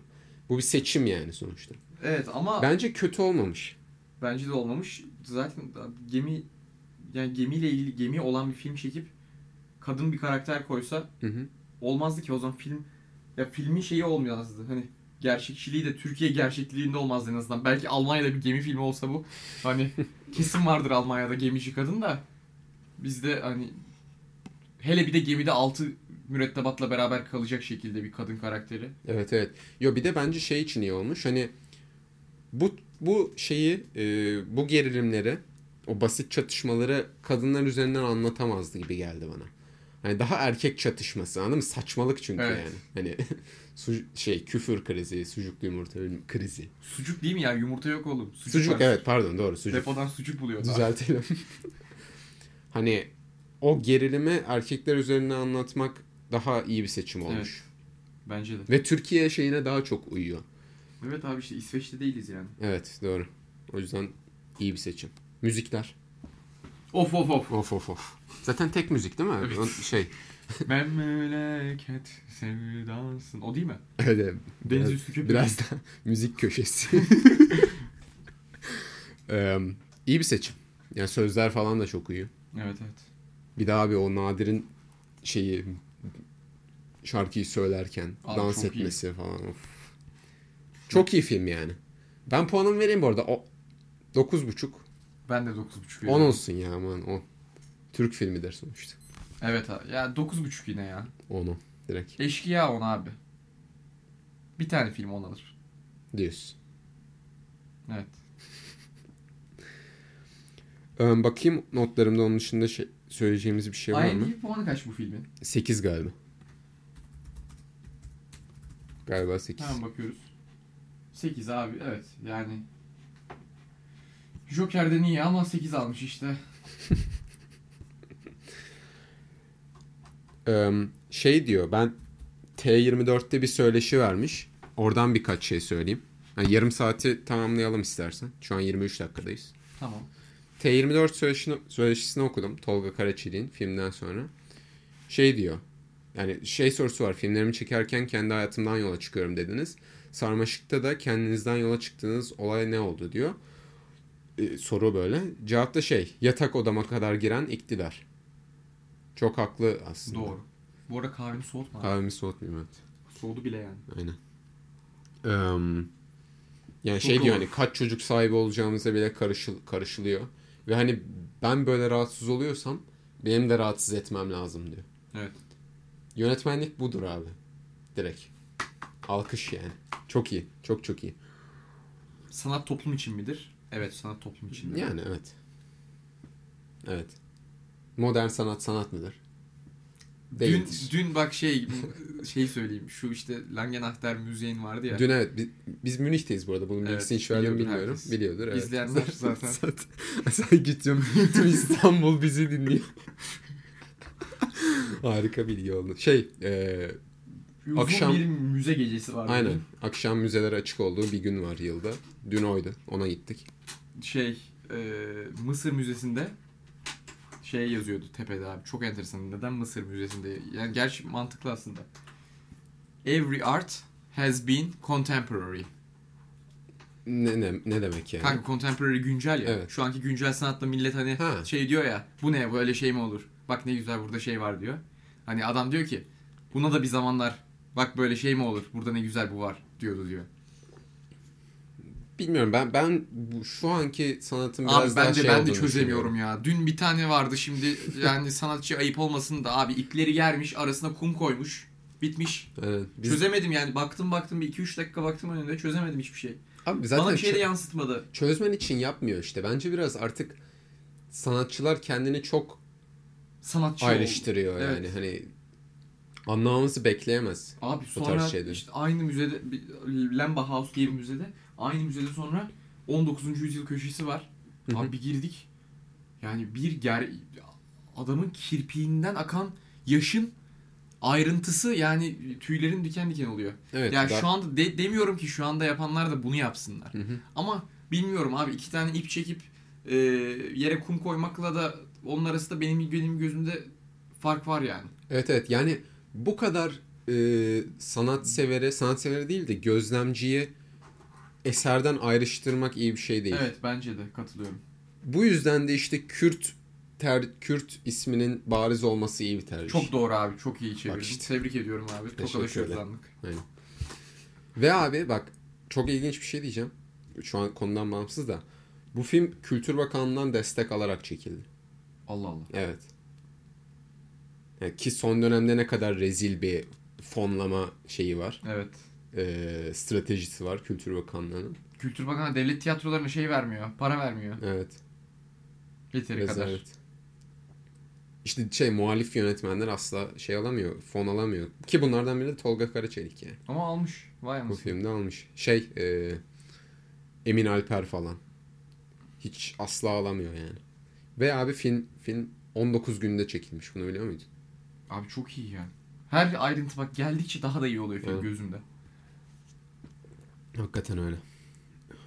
Speaker 1: Bu bir seçim yani sonuçta.
Speaker 2: Evet ama
Speaker 1: Bence kötü olmamış.
Speaker 2: bence de olmamış. Zaten da- gemi yani gemiyle ilgili gemi olan bir film çekip kadın bir karakter koysa
Speaker 1: Hı hı.
Speaker 2: olmazdı ki o zaman film ya filmin şeyi olmazdı. Hani gerçekçiliği de Türkiye gerçekliğinde olmazdı en azından. Belki Almanya'da bir gemi filmi olsa bu hani kesin vardır Almanya'da gemici kadın da bizde hani hele bir de gemide altı mürettebatla beraber kalacak şekilde bir kadın karakteri.
Speaker 1: Evet evet. Yo bir de bence şey için iyi olmuş. Hani bu bu şeyi e, bu gerilimleri o basit çatışmaları kadınlar üzerinden anlatamazdı gibi geldi bana. Hani daha erkek çatışması anladın mı? Saçmalık çünkü
Speaker 2: Evet.
Speaker 1: yani. Hani su, şey küfür krizi, sucuklu yumurta krizi.
Speaker 2: Sucuk değil mi ya? Yumurta yok oğlum. Sucuk,
Speaker 1: Sucuk
Speaker 2: var.
Speaker 1: evet pardon doğru sucuk.
Speaker 2: Depodan sucuk buluyor.
Speaker 1: Düzeltelim. hani o gerilimi erkekler üzerinden anlatmak daha iyi bir seçim olmuş.
Speaker 2: Bence de.
Speaker 1: Ve Türkiye şeyine daha çok uyuyor.
Speaker 2: Evet abi işte İsveç'te değiliz yani.
Speaker 1: Evet doğru. O yüzden iyi bir seçim. Müzikler.
Speaker 2: Of of of.
Speaker 1: Of of of. Zaten tek müzik değil mi?
Speaker 2: Evet.
Speaker 1: O Şey.
Speaker 2: Memleket sevdansın. O değil mi?
Speaker 1: Evet, evet.
Speaker 2: Deniz
Speaker 1: Biraz-
Speaker 2: üstü köpüğü.
Speaker 1: Biraz da müzik köşesi. Eee iyi bir seçim. Yani sözler falan da çok iyi.
Speaker 2: Evet evet.
Speaker 1: Bir daha bir o Nadir'in şeyi şarkıyı söylerken
Speaker 2: Abi
Speaker 1: dans
Speaker 2: çok iyi.
Speaker 1: etmesi falan. Of. Çok iyi film yani. Ben puanımı vereyim bu arada. O 9.5.
Speaker 2: Ben de 9.5
Speaker 1: 10 olsun ya aman 10. Türk filmidir sonuçta.
Speaker 2: Evet abi. Ya 9.5 yine ya.
Speaker 1: 10 direkt.
Speaker 2: Eşkıya 10 abi. Bir tane film 10 alır.
Speaker 1: Diyorsun.
Speaker 2: Evet.
Speaker 1: Ee, bakayım notlarımda onun dışında şey, söyleyeceğimiz bir şey var mı?
Speaker 2: IMDb puanı kaç bu filmin?
Speaker 1: 8 galiba. Galiba 8.
Speaker 2: Hemen bakıyoruz. 8 abi evet yani. Joker'den iyi ama 8 almış işte.
Speaker 1: Ee, şey diyor ben T24'te bir söyleşi vermiş. Oradan birkaç şey söyleyeyim. Yani yarım saati tamamlayalım istersen. Şu an 23 dakikadayız.
Speaker 2: Tamam.
Speaker 1: T24 söyleşini, söyleşisini okudum. Tolga Karaçelik'in filmden sonra. Şey diyor. Yani şey sorusu var. Filmlerimi çekerken kendi hayatımdan yola çıkıyorum dediniz. Sarmaşık'ta da kendinizden yola çıktığınız olay ne oldu diyor. Ee, soru böyle. Cevap da şey. Yatak odama kadar giren iktidar. Çok haklı aslında.
Speaker 2: Doğru. Bu arada kahveni soğutma. abi.
Speaker 1: Kahvemi soğutmayayım evet.
Speaker 2: Soğudu bile yani.
Speaker 1: Aynen. Eee, yani
Speaker 2: Çok
Speaker 1: şey diyor
Speaker 2: doğru.
Speaker 1: hani kaç çocuk sahibi olacağımıza bile karışıl karışılıyor. Ve hani ben böyle rahatsız oluyorsam benim de rahatsız etmem lazım diyor.
Speaker 2: Evet.
Speaker 1: Yönetmenlik budur abi. Direkt. Alkış yani. Çok iyi. Çok çok iyi.
Speaker 2: Sanat toplum için midir? Evet sanat toplum içindir.
Speaker 1: Yani evet. Evet. Modern sanat sanat mıdır?
Speaker 2: Dün,
Speaker 1: Değildir.
Speaker 2: dün bak şey şey söyleyeyim. Şu işte Langenachter Müzey'in vardı ya.
Speaker 1: Dün evet bi- biz Münih'teyiz bu arada. Bunun
Speaker 2: Evet,
Speaker 1: bilgisini hiç verdim
Speaker 2: biliyordur
Speaker 1: bilmiyorum.
Speaker 2: herkes.
Speaker 1: Biliyordur evet.
Speaker 2: İzleyenler zaten.
Speaker 1: Sen gidiyorum. Tüm İstanbul bizi dinliyor. Harika bilgi oldu. Şey e,
Speaker 2: Uzun
Speaker 1: akşam-
Speaker 2: bir müze gecesi vardı.
Speaker 1: aynen akşam müzelere açık olduğu bir gün var yılda. Dün oydu. Ona gittik.
Speaker 2: Şey e, Mısır Müzesi'nde şey yazıyordu tepede abi. Çok enteresan. Neden Mısır Müzesi'nde? Yani gerçi mantıklı aslında. Every art has been contemporary.
Speaker 1: Ne, ne, ne demek yani?
Speaker 2: Kanka contemporary güncel ya.
Speaker 1: Evet.
Speaker 2: Şu anki güncel sanatta millet hani
Speaker 1: Ha.
Speaker 2: şey diyor ya. Bu ne böyle şey mi olur? Bak ne güzel burada şey var diyor. Hani adam diyor ki buna da bir zamanlar bak böyle şey mi olur? Burada ne güzel bu var diyordu diyor.
Speaker 1: Bilmiyorum ben ben bu, şu anki sanatın biraz
Speaker 2: Abi
Speaker 1: daha
Speaker 2: ben de
Speaker 1: şey
Speaker 2: ben de
Speaker 1: olduğunu
Speaker 2: çözemiyorum
Speaker 1: düşünüyorum.
Speaker 2: ya. Dün bir tane vardı şimdi yani sanatçı ayıp olmasın da abi ipleri germiş arasına kum koymuş. Bitmiş.
Speaker 1: Evet, biz,
Speaker 2: Çözemedim yani. Baktım baktım bir 2-3 dakika baktım önünde çözemedim hiçbir şey.
Speaker 1: abi zaten
Speaker 2: Bana bir şey de
Speaker 1: çö-
Speaker 2: yansıtmadı.
Speaker 1: çözmen için yapmıyor işte. Bence biraz artık sanatçılar kendini çok
Speaker 2: Sanatçı oldu.
Speaker 1: ayrıştırıyor
Speaker 2: Evet.
Speaker 1: yani hani anlamamızı bekleyemez.
Speaker 2: Abi
Speaker 1: Bu tarz
Speaker 2: sonra
Speaker 1: şeyleri.
Speaker 2: işte aynı müzede bir- Lamba House diye bir müzede aynı müzede sonra 19. yüzyıl köşesi var.
Speaker 1: Hı hı.
Speaker 2: Abi bir girdik. Yani bir ger adamın kirpiğinden akan yaşın ayrıntısı yani tüylerin diken diken oluyor.
Speaker 1: Evet.
Speaker 2: yani
Speaker 1: daha-
Speaker 2: şu anda de- demiyorum ki şu anda yapanlar da bunu yapsınlar.
Speaker 1: Hı hı.
Speaker 2: Ama bilmiyorum abi iki tane ip çekip e, yere kum koymakla da onun arasında benim benim gözümde fark var yani.
Speaker 1: Evet evet yani bu kadar e, sanatsevere, sanatsevere değil de gözlemciyi eserden ayrıştırmak iyi bir şey değil.
Speaker 2: Evet bence de katılıyorum.
Speaker 1: Bu yüzden de işte Kürt ter, Kürt isminin bariz olması iyi bir tercih.
Speaker 2: Çok doğru abi. Çok iyi çevirdin.
Speaker 1: Bak işte.
Speaker 2: Tebrik ediyorum abi. Tokalaşıyoruz
Speaker 1: ederim.
Speaker 2: anlık.
Speaker 1: Ve abi bak çok ilginç bir şey diyeceğim. Şu an konudan bağımsız da. Bu film Kültür Bakanlığı'ndan destek alarak çekildi.
Speaker 2: Allah Allah.
Speaker 1: Evet. Yani ki son dönemde ne kadar rezil bir fonlama şeyi var.
Speaker 2: Evet.
Speaker 1: e, stratejisi var Kültür Bakanlığı'nın.
Speaker 2: Kültür Bakanı devlet tiyatrolarına şey vermiyor. Para vermiyor.
Speaker 1: Evet.
Speaker 2: Yeteri kadar.
Speaker 1: Rezalet. İşte şey muhalif yönetmenler asla şey alamıyor, fon alamıyor. Ki bunlardan biri de Tolga Karaçelik yani.
Speaker 2: Ama almış. Vay
Speaker 1: Bu
Speaker 2: anasını.
Speaker 1: filmde almış. Şey e, Emin Alper falan. Hiç asla alamıyor yani. Ve abi film film 19 günde çekilmiş. Bunu biliyor muydun?
Speaker 2: Abi çok iyi ya. Her ayrıntı bak geldikçe daha da iyi oluyor film
Speaker 1: Evet.
Speaker 2: gözümde.
Speaker 1: Hakikaten öyle.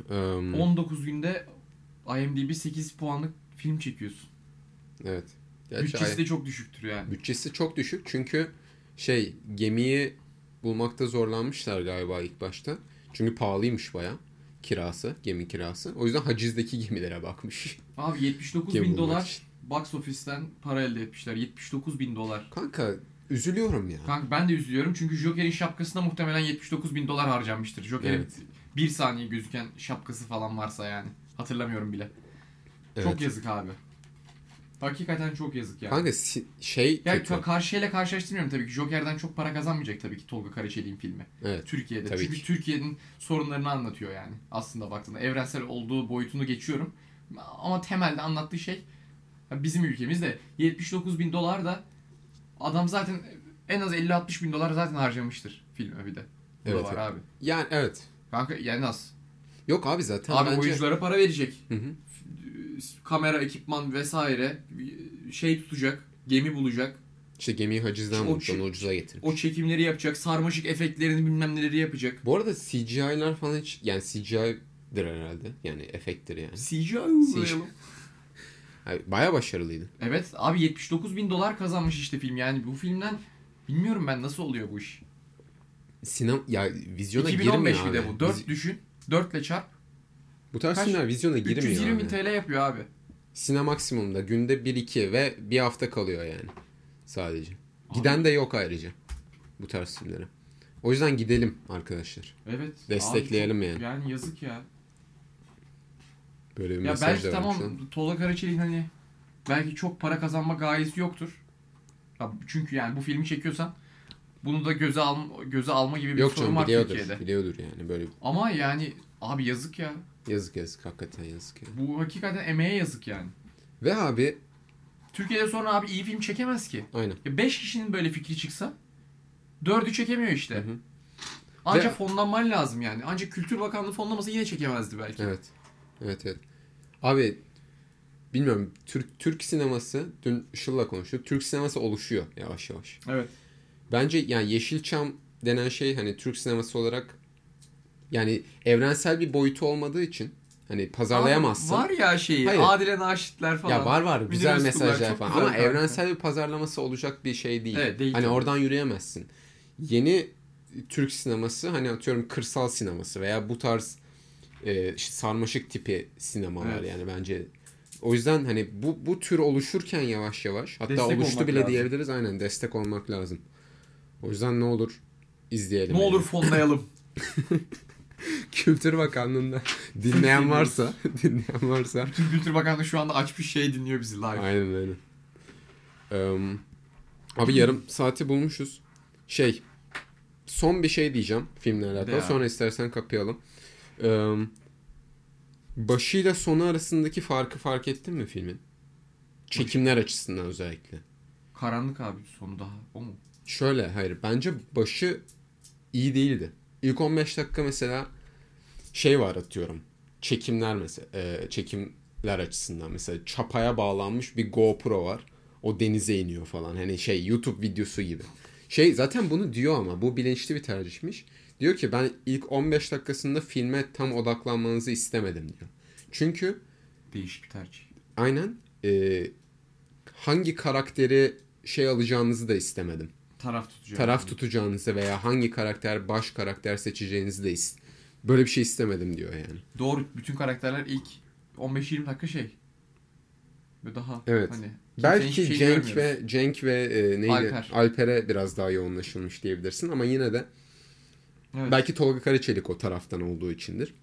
Speaker 1: Ehm,
Speaker 2: 19 günde IMDb 8 puanlık film çekiyorsun.
Speaker 1: evet. Gerçi ay-
Speaker 2: Bütçesi de çok düşüktür yani.
Speaker 1: Bütçesi çok düşük çünkü şey gemiyi bulmakta zorlanmışlar galiba ilk başta. Çünkü pahalıymış baya kirası, gemi kirası. O yüzden hacizdeki gemilere bakmış.
Speaker 2: Abi 79
Speaker 1: Gemi
Speaker 2: bin
Speaker 1: bulmak
Speaker 2: dolar
Speaker 1: için.
Speaker 2: box office'ten para elde etmişler. 79 bin dolar.
Speaker 1: Kanka üzülüyorum ya.
Speaker 2: Kanka ben de üzülüyorum çünkü Joker'in şapkasına muhtemelen 79 bin dolar harcanmıştır. Joker'in
Speaker 1: Evet.
Speaker 2: bir saniye gözüken şapkası falan varsa yani. Hatırlamıyorum bile.
Speaker 1: Evet.
Speaker 2: Çok yazık abi. Hakikaten çok yazık yani.
Speaker 1: Kanka si- şey
Speaker 2: ya
Speaker 1: kötü.
Speaker 2: ka- karşıyla karşılaştırmıyorum tabii ki. Joker'den çok para kazanmayacak tabii ki Tolga Karaçelik'in filmi.
Speaker 1: Evet.
Speaker 2: Türkiye'de.
Speaker 1: Tabii
Speaker 2: Çünkü
Speaker 1: ki.
Speaker 2: Türkiye'nin sorunlarını anlatıyor yani. Aslında baktığında evrensel olduğu boyutunu geçiyorum. Ama temelde anlattığı şey ya bizim ülkemizde 79 bin dolar da adam zaten en az 50-60 bin dolar zaten harcamıştır filme bir de. Bu
Speaker 1: Evet,
Speaker 2: da var
Speaker 1: evet.
Speaker 2: abi.
Speaker 1: Yani evet.
Speaker 2: Kanka yani az.
Speaker 1: Yok abi zaten
Speaker 2: abi
Speaker 1: bence
Speaker 2: oyunculara para verecek.
Speaker 1: Hı hı.
Speaker 2: Kamera, ekipman vesaire şey tutacak. Gemi bulacak.
Speaker 1: işte gemiyi hacizden
Speaker 2: O
Speaker 1: bulmuş
Speaker 2: çi-
Speaker 1: onu ucuza getirmiş.
Speaker 2: O çekimleri yapacak. Sarmaşık efektlerini bilmem neleri yapacak.
Speaker 1: Bu arada CGI'lar falan hiç yani CGI'dir herhalde. Yani efekttir yani.
Speaker 2: CGI
Speaker 1: CGI. yani Baya başarılıydı.
Speaker 2: Evet abi 79 bin dolar kazanmış işte film yani bu filmden bilmiyorum ben nasıl oluyor bu iş.
Speaker 1: Sinem ya vizyona
Speaker 2: 2015
Speaker 1: girmiyor
Speaker 2: bir de
Speaker 1: abi.
Speaker 2: bu 4
Speaker 1: Viz-
Speaker 2: düşün 4 ile çarp
Speaker 1: Bu tarz
Speaker 2: Kaç?
Speaker 1: filmler vizyona girmiyor.
Speaker 2: 320 bin
Speaker 1: abi.
Speaker 2: TL yapıyor abi.
Speaker 1: Sine maksimumda günde 1-2 ve bir hafta kalıyor yani sadece.
Speaker 2: Abi.
Speaker 1: Giden de yok ayrıca bu tarz filmlere. O yüzden gidelim arkadaşlar.
Speaker 2: Evet. abi
Speaker 1: Destekleyelim
Speaker 2: çok-
Speaker 1: yani.
Speaker 2: Yani yazık ya.
Speaker 1: Böyle bir
Speaker 2: Ya
Speaker 1: mesaj
Speaker 2: belki
Speaker 1: da vermiş
Speaker 2: tamam
Speaker 1: lan.
Speaker 2: Tolga Karaçelik'in hani belki çok para kazanma gayesi yoktur. Ya çünkü yani bu filmi çekiyorsan bunu da göze alma, göze alma gibi bir
Speaker 1: Yok
Speaker 2: sorun
Speaker 1: canım
Speaker 2: var
Speaker 1: biliyordur.
Speaker 2: Türkiye'de.
Speaker 1: Biliyordur yani böyle
Speaker 2: Ama yani abi yazık ya.
Speaker 1: yazık yazık hakikaten yazık yani.
Speaker 2: Bu hakikaten emeğe yazık yani.
Speaker 1: Ve abi
Speaker 2: Türkiye'de sonra abi iyi film çekemez ki.
Speaker 1: aynen.
Speaker 2: Ya 5 kişinin böyle fikri çıksa 4'ü çekemiyor işte.
Speaker 1: Hı hı.
Speaker 2: Ancak
Speaker 1: Ve-
Speaker 2: fonlanman lazım yani. Ancak Kültür Bakanlığı fonlamasa yine çekemezdi belki.
Speaker 1: Evet. Evet evet. Abi bilmiyorum Türk Türk sineması dün Işıl'la konuştuk. Türk sineması oluşuyor yavaş yavaş.
Speaker 2: Evet.
Speaker 1: Bence yani Yeşilçam denen şey hani Türk sineması olarak yani evrensel bir boyutu olmadığı için hani pazarlayamazsın.
Speaker 2: Abi Var ya şeyi.
Speaker 1: Hayır.
Speaker 2: Adile Naşitler falan.
Speaker 1: Ya var var güzel
Speaker 2: Münir Özkullar
Speaker 1: mesajlar
Speaker 2: çok
Speaker 1: falan
Speaker 2: güzel
Speaker 1: ama
Speaker 2: kanka.
Speaker 1: evrensel bir pazarlaması olacak bir şey değil.
Speaker 2: Evet, değil
Speaker 1: hani
Speaker 2: tabii.
Speaker 1: oradan yürüyemezsin. Yeni Türk sineması hani atıyorum kırsal sineması veya bu tarz e, işte sarmaşık tipi sinemalar
Speaker 2: Evet.
Speaker 1: yani bence o yüzden hani bu bu tür oluşurken yavaş yavaş hatta
Speaker 2: Destek
Speaker 1: oluştu
Speaker 2: olmak
Speaker 1: bile
Speaker 2: lazım.
Speaker 1: diyebiliriz aynen destek olmak lazım. O yüzden ne olur izleyelim.
Speaker 2: Ne
Speaker 1: yani.
Speaker 2: olur fonlayalım.
Speaker 1: Kültür Bakanlığı'nda dinleyen varsa, dinleyen varsa
Speaker 2: Bütün Kültür Bakanlığı şu anda açmış şey dinliyor bizi live.
Speaker 1: Aynen aynen. Em, abi yarım saati bulmuşuz. Şey, son bir şey diyeceğim filmle alakalı.
Speaker 2: Ya.
Speaker 1: Sonra istersen kapayalım. Em, başıyla sonu arasındaki farkı fark ettin mi filmin? Çekimler açısından özellikle.
Speaker 2: Karanlık abi sonu daha o mu?
Speaker 1: Şöyle hayır bence başı iyi değildi. İlk 15 dakika mesela şey var atıyorum. Çekimler mesela e, çekimler açısından mesela çapaya bağlanmış bir GoPro var. O denize iniyor falan. Hani şey YouTube videosu gibi. Şey zaten bunu diyor ama bu bilinçli bir tercihmiş. Diyor ki ben ilk 15 dakikasında filme tam odaklanmanızı istemedim diyor. Çünkü
Speaker 2: Değişik bir tercih.
Speaker 1: aynen e, hangi karakteri şey alacağınızı da istemedim
Speaker 2: Taraf tutucu.
Speaker 1: taraf tutacağınızı veya hangi karakter baş karakter seçeceğinizi de is- böyle bir şey istemedim diyor yani.
Speaker 2: Doğru bütün karakterler ilk 15-20 dakika şey. Ve daha
Speaker 1: Evet.
Speaker 2: hani kimsenin hiçbir
Speaker 1: Belki
Speaker 2: şeyini
Speaker 1: Cenk
Speaker 2: görmüyoruz.
Speaker 1: ve Cenk ve e, neydi?
Speaker 2: Alper.
Speaker 1: Alper'e biraz daha yoğunlaşılmış diyebilirsin ama yine de
Speaker 2: Evet.
Speaker 1: belki Tolga Karaçelik o taraftan olduğu içindir.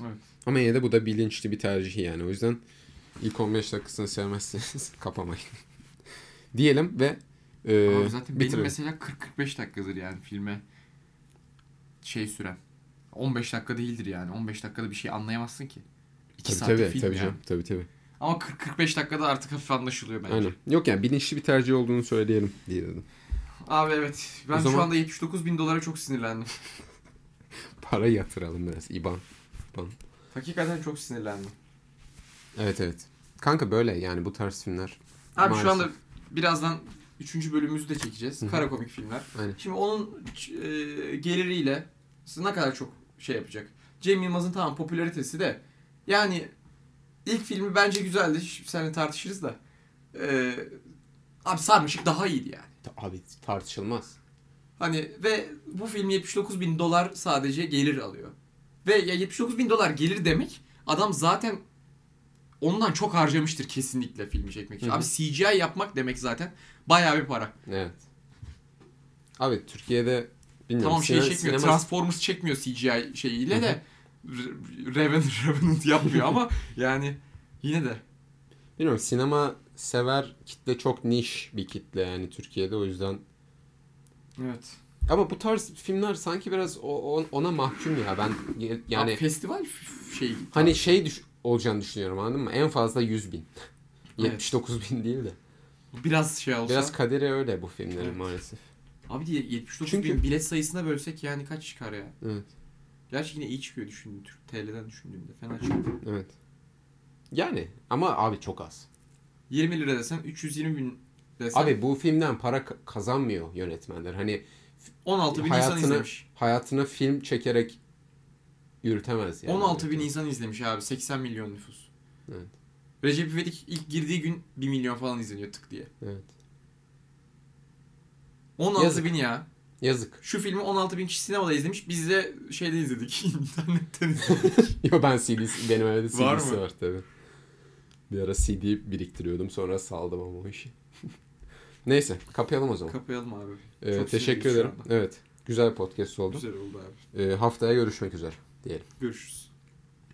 Speaker 2: Evet.
Speaker 1: Ama yine de bu da bilinçli bir tercih yani. O yüzden ilk 15 dakikasını sevmezseniz kapamayın. Diyelim ve e,
Speaker 2: Abi zaten benim
Speaker 1: bitirelim.
Speaker 2: mesela 40-45 dakikadır yani filme şey süren. 15 dakika değildir yani. 15 dakikada bir şey anlayamazsın ki. 2
Speaker 1: Tabii
Speaker 2: saatlik
Speaker 1: tabii
Speaker 2: film
Speaker 1: tabii,
Speaker 2: yani.
Speaker 1: canım, tabii tabii.
Speaker 2: Ama 40-45 dakikada artık hafif anlaşılıyor bence.
Speaker 1: Aynen. Yok yani bilinçli bir tercih olduğunu söyleyelim diye dedim.
Speaker 2: Abi evet. Ben
Speaker 1: O zaman-
Speaker 2: şu anda 79 bin dolara çok sinirlendim.
Speaker 1: Para yatıralım biraz. İban.
Speaker 2: Hakikaten çok sinirlendim.
Speaker 1: Evet evet. Kanka böyle yani bu tarz filmler.
Speaker 2: Abi
Speaker 1: Maalesef.
Speaker 2: şu anda birazdan 3. bölümümüzü de çekeceğiz.
Speaker 1: Hı hı.
Speaker 2: Kara komik filmler.
Speaker 1: Aynen.
Speaker 2: Şimdi onun e, geliriyle size ne kadar çok şey yapacak. Cem Yılmaz'ın tamam popülaritesi de yani ilk filmi bence güzeldi. Şimdi seninle tartışırız da. E, abi Sarmışık daha iyiydi yani.
Speaker 1: Ta- Abi tartışılmaz.
Speaker 2: Hani ve bu film 79 bin dolar sadece gelir alıyor. Ve ya 79 bin dolar gelir demek adam zaten ondan çok harcamıştır kesinlikle filmi çekmek için.
Speaker 1: Hı hı.
Speaker 2: Abi CGI yapmak demek zaten bayağı bir para.
Speaker 1: Evet. Abi Türkiye'de bilmiyorum.
Speaker 2: tamam şey
Speaker 1: sine-
Speaker 2: çekmiyor.
Speaker 1: sinema-
Speaker 2: Transformers çekmiyor CGI şeyiyle
Speaker 1: Hı hı.
Speaker 2: de Re- Revenant, Revenant yapmıyor ama yani yine de
Speaker 1: bilmiyorum sinema sever kitle çok niş bir kitle yani Türkiye'de o yüzden.
Speaker 2: evet.
Speaker 1: Ama bu tarz filmler sanki biraz o, o- ona mahkum ya ben ge- yani
Speaker 2: Yani festival f- şeyi.
Speaker 1: hani şey düş- olacağını düşünüyorum anladın mı? En fazla 100 bin.
Speaker 2: Evet.
Speaker 1: 79 bin değil de.
Speaker 2: biraz şey olsa.
Speaker 1: Biraz kaderi öyle bu filmlerin
Speaker 2: Evet.
Speaker 1: maalesef.
Speaker 2: Abi diye 79
Speaker 1: Çünkü-
Speaker 2: bin bilet sayısına bölsek yani kaç çıkar ya?
Speaker 1: Evet.
Speaker 2: Gerçi yine iyi çıkıyor düşündüğüm Türk TL'den düşündüğümde. Fena çıkıyor.
Speaker 1: Evet. Yani ama abi çok az.
Speaker 2: 20 lira desem 320 bin desem
Speaker 1: Abi bu filmden para k- kazanmıyor yönetmenler. Hani
Speaker 2: 16 bin
Speaker 1: hayatını-
Speaker 2: insan izlemiş.
Speaker 1: hayatına film çekerek yürütemez yani.
Speaker 2: 16 bin insan izlemiş abi 80 milyon nüfus.
Speaker 1: Evet.
Speaker 2: Recep İvedik ilk girdiği gün 1 milyon falan izleniyor tık diye.
Speaker 1: Evet.
Speaker 2: 16
Speaker 1: Yazık.
Speaker 2: bin ya.
Speaker 1: Yazık.
Speaker 2: Şu filmi 16 bin kişi sinemada izlemiş. Biz de şeyde izledik. internetten izledik.
Speaker 1: Yo ben CD'si, benim evde CD'si
Speaker 2: Var
Speaker 1: var,
Speaker 2: mı?
Speaker 1: var tabii. Bir ara CD biriktiriyordum sonra saldım ama o işi. Neyse kapayalım o zaman.
Speaker 2: Kapayalım abi.
Speaker 1: Ee,
Speaker 2: Çok
Speaker 1: teşekkür
Speaker 2: sinirliyiz şu
Speaker 1: ederim.
Speaker 2: anda.
Speaker 1: Evet. Güzel podcast oldu.
Speaker 2: Güzel oldu abi.
Speaker 1: Ee, haftaya görüşmek üzere.
Speaker 2: Görüşürüz.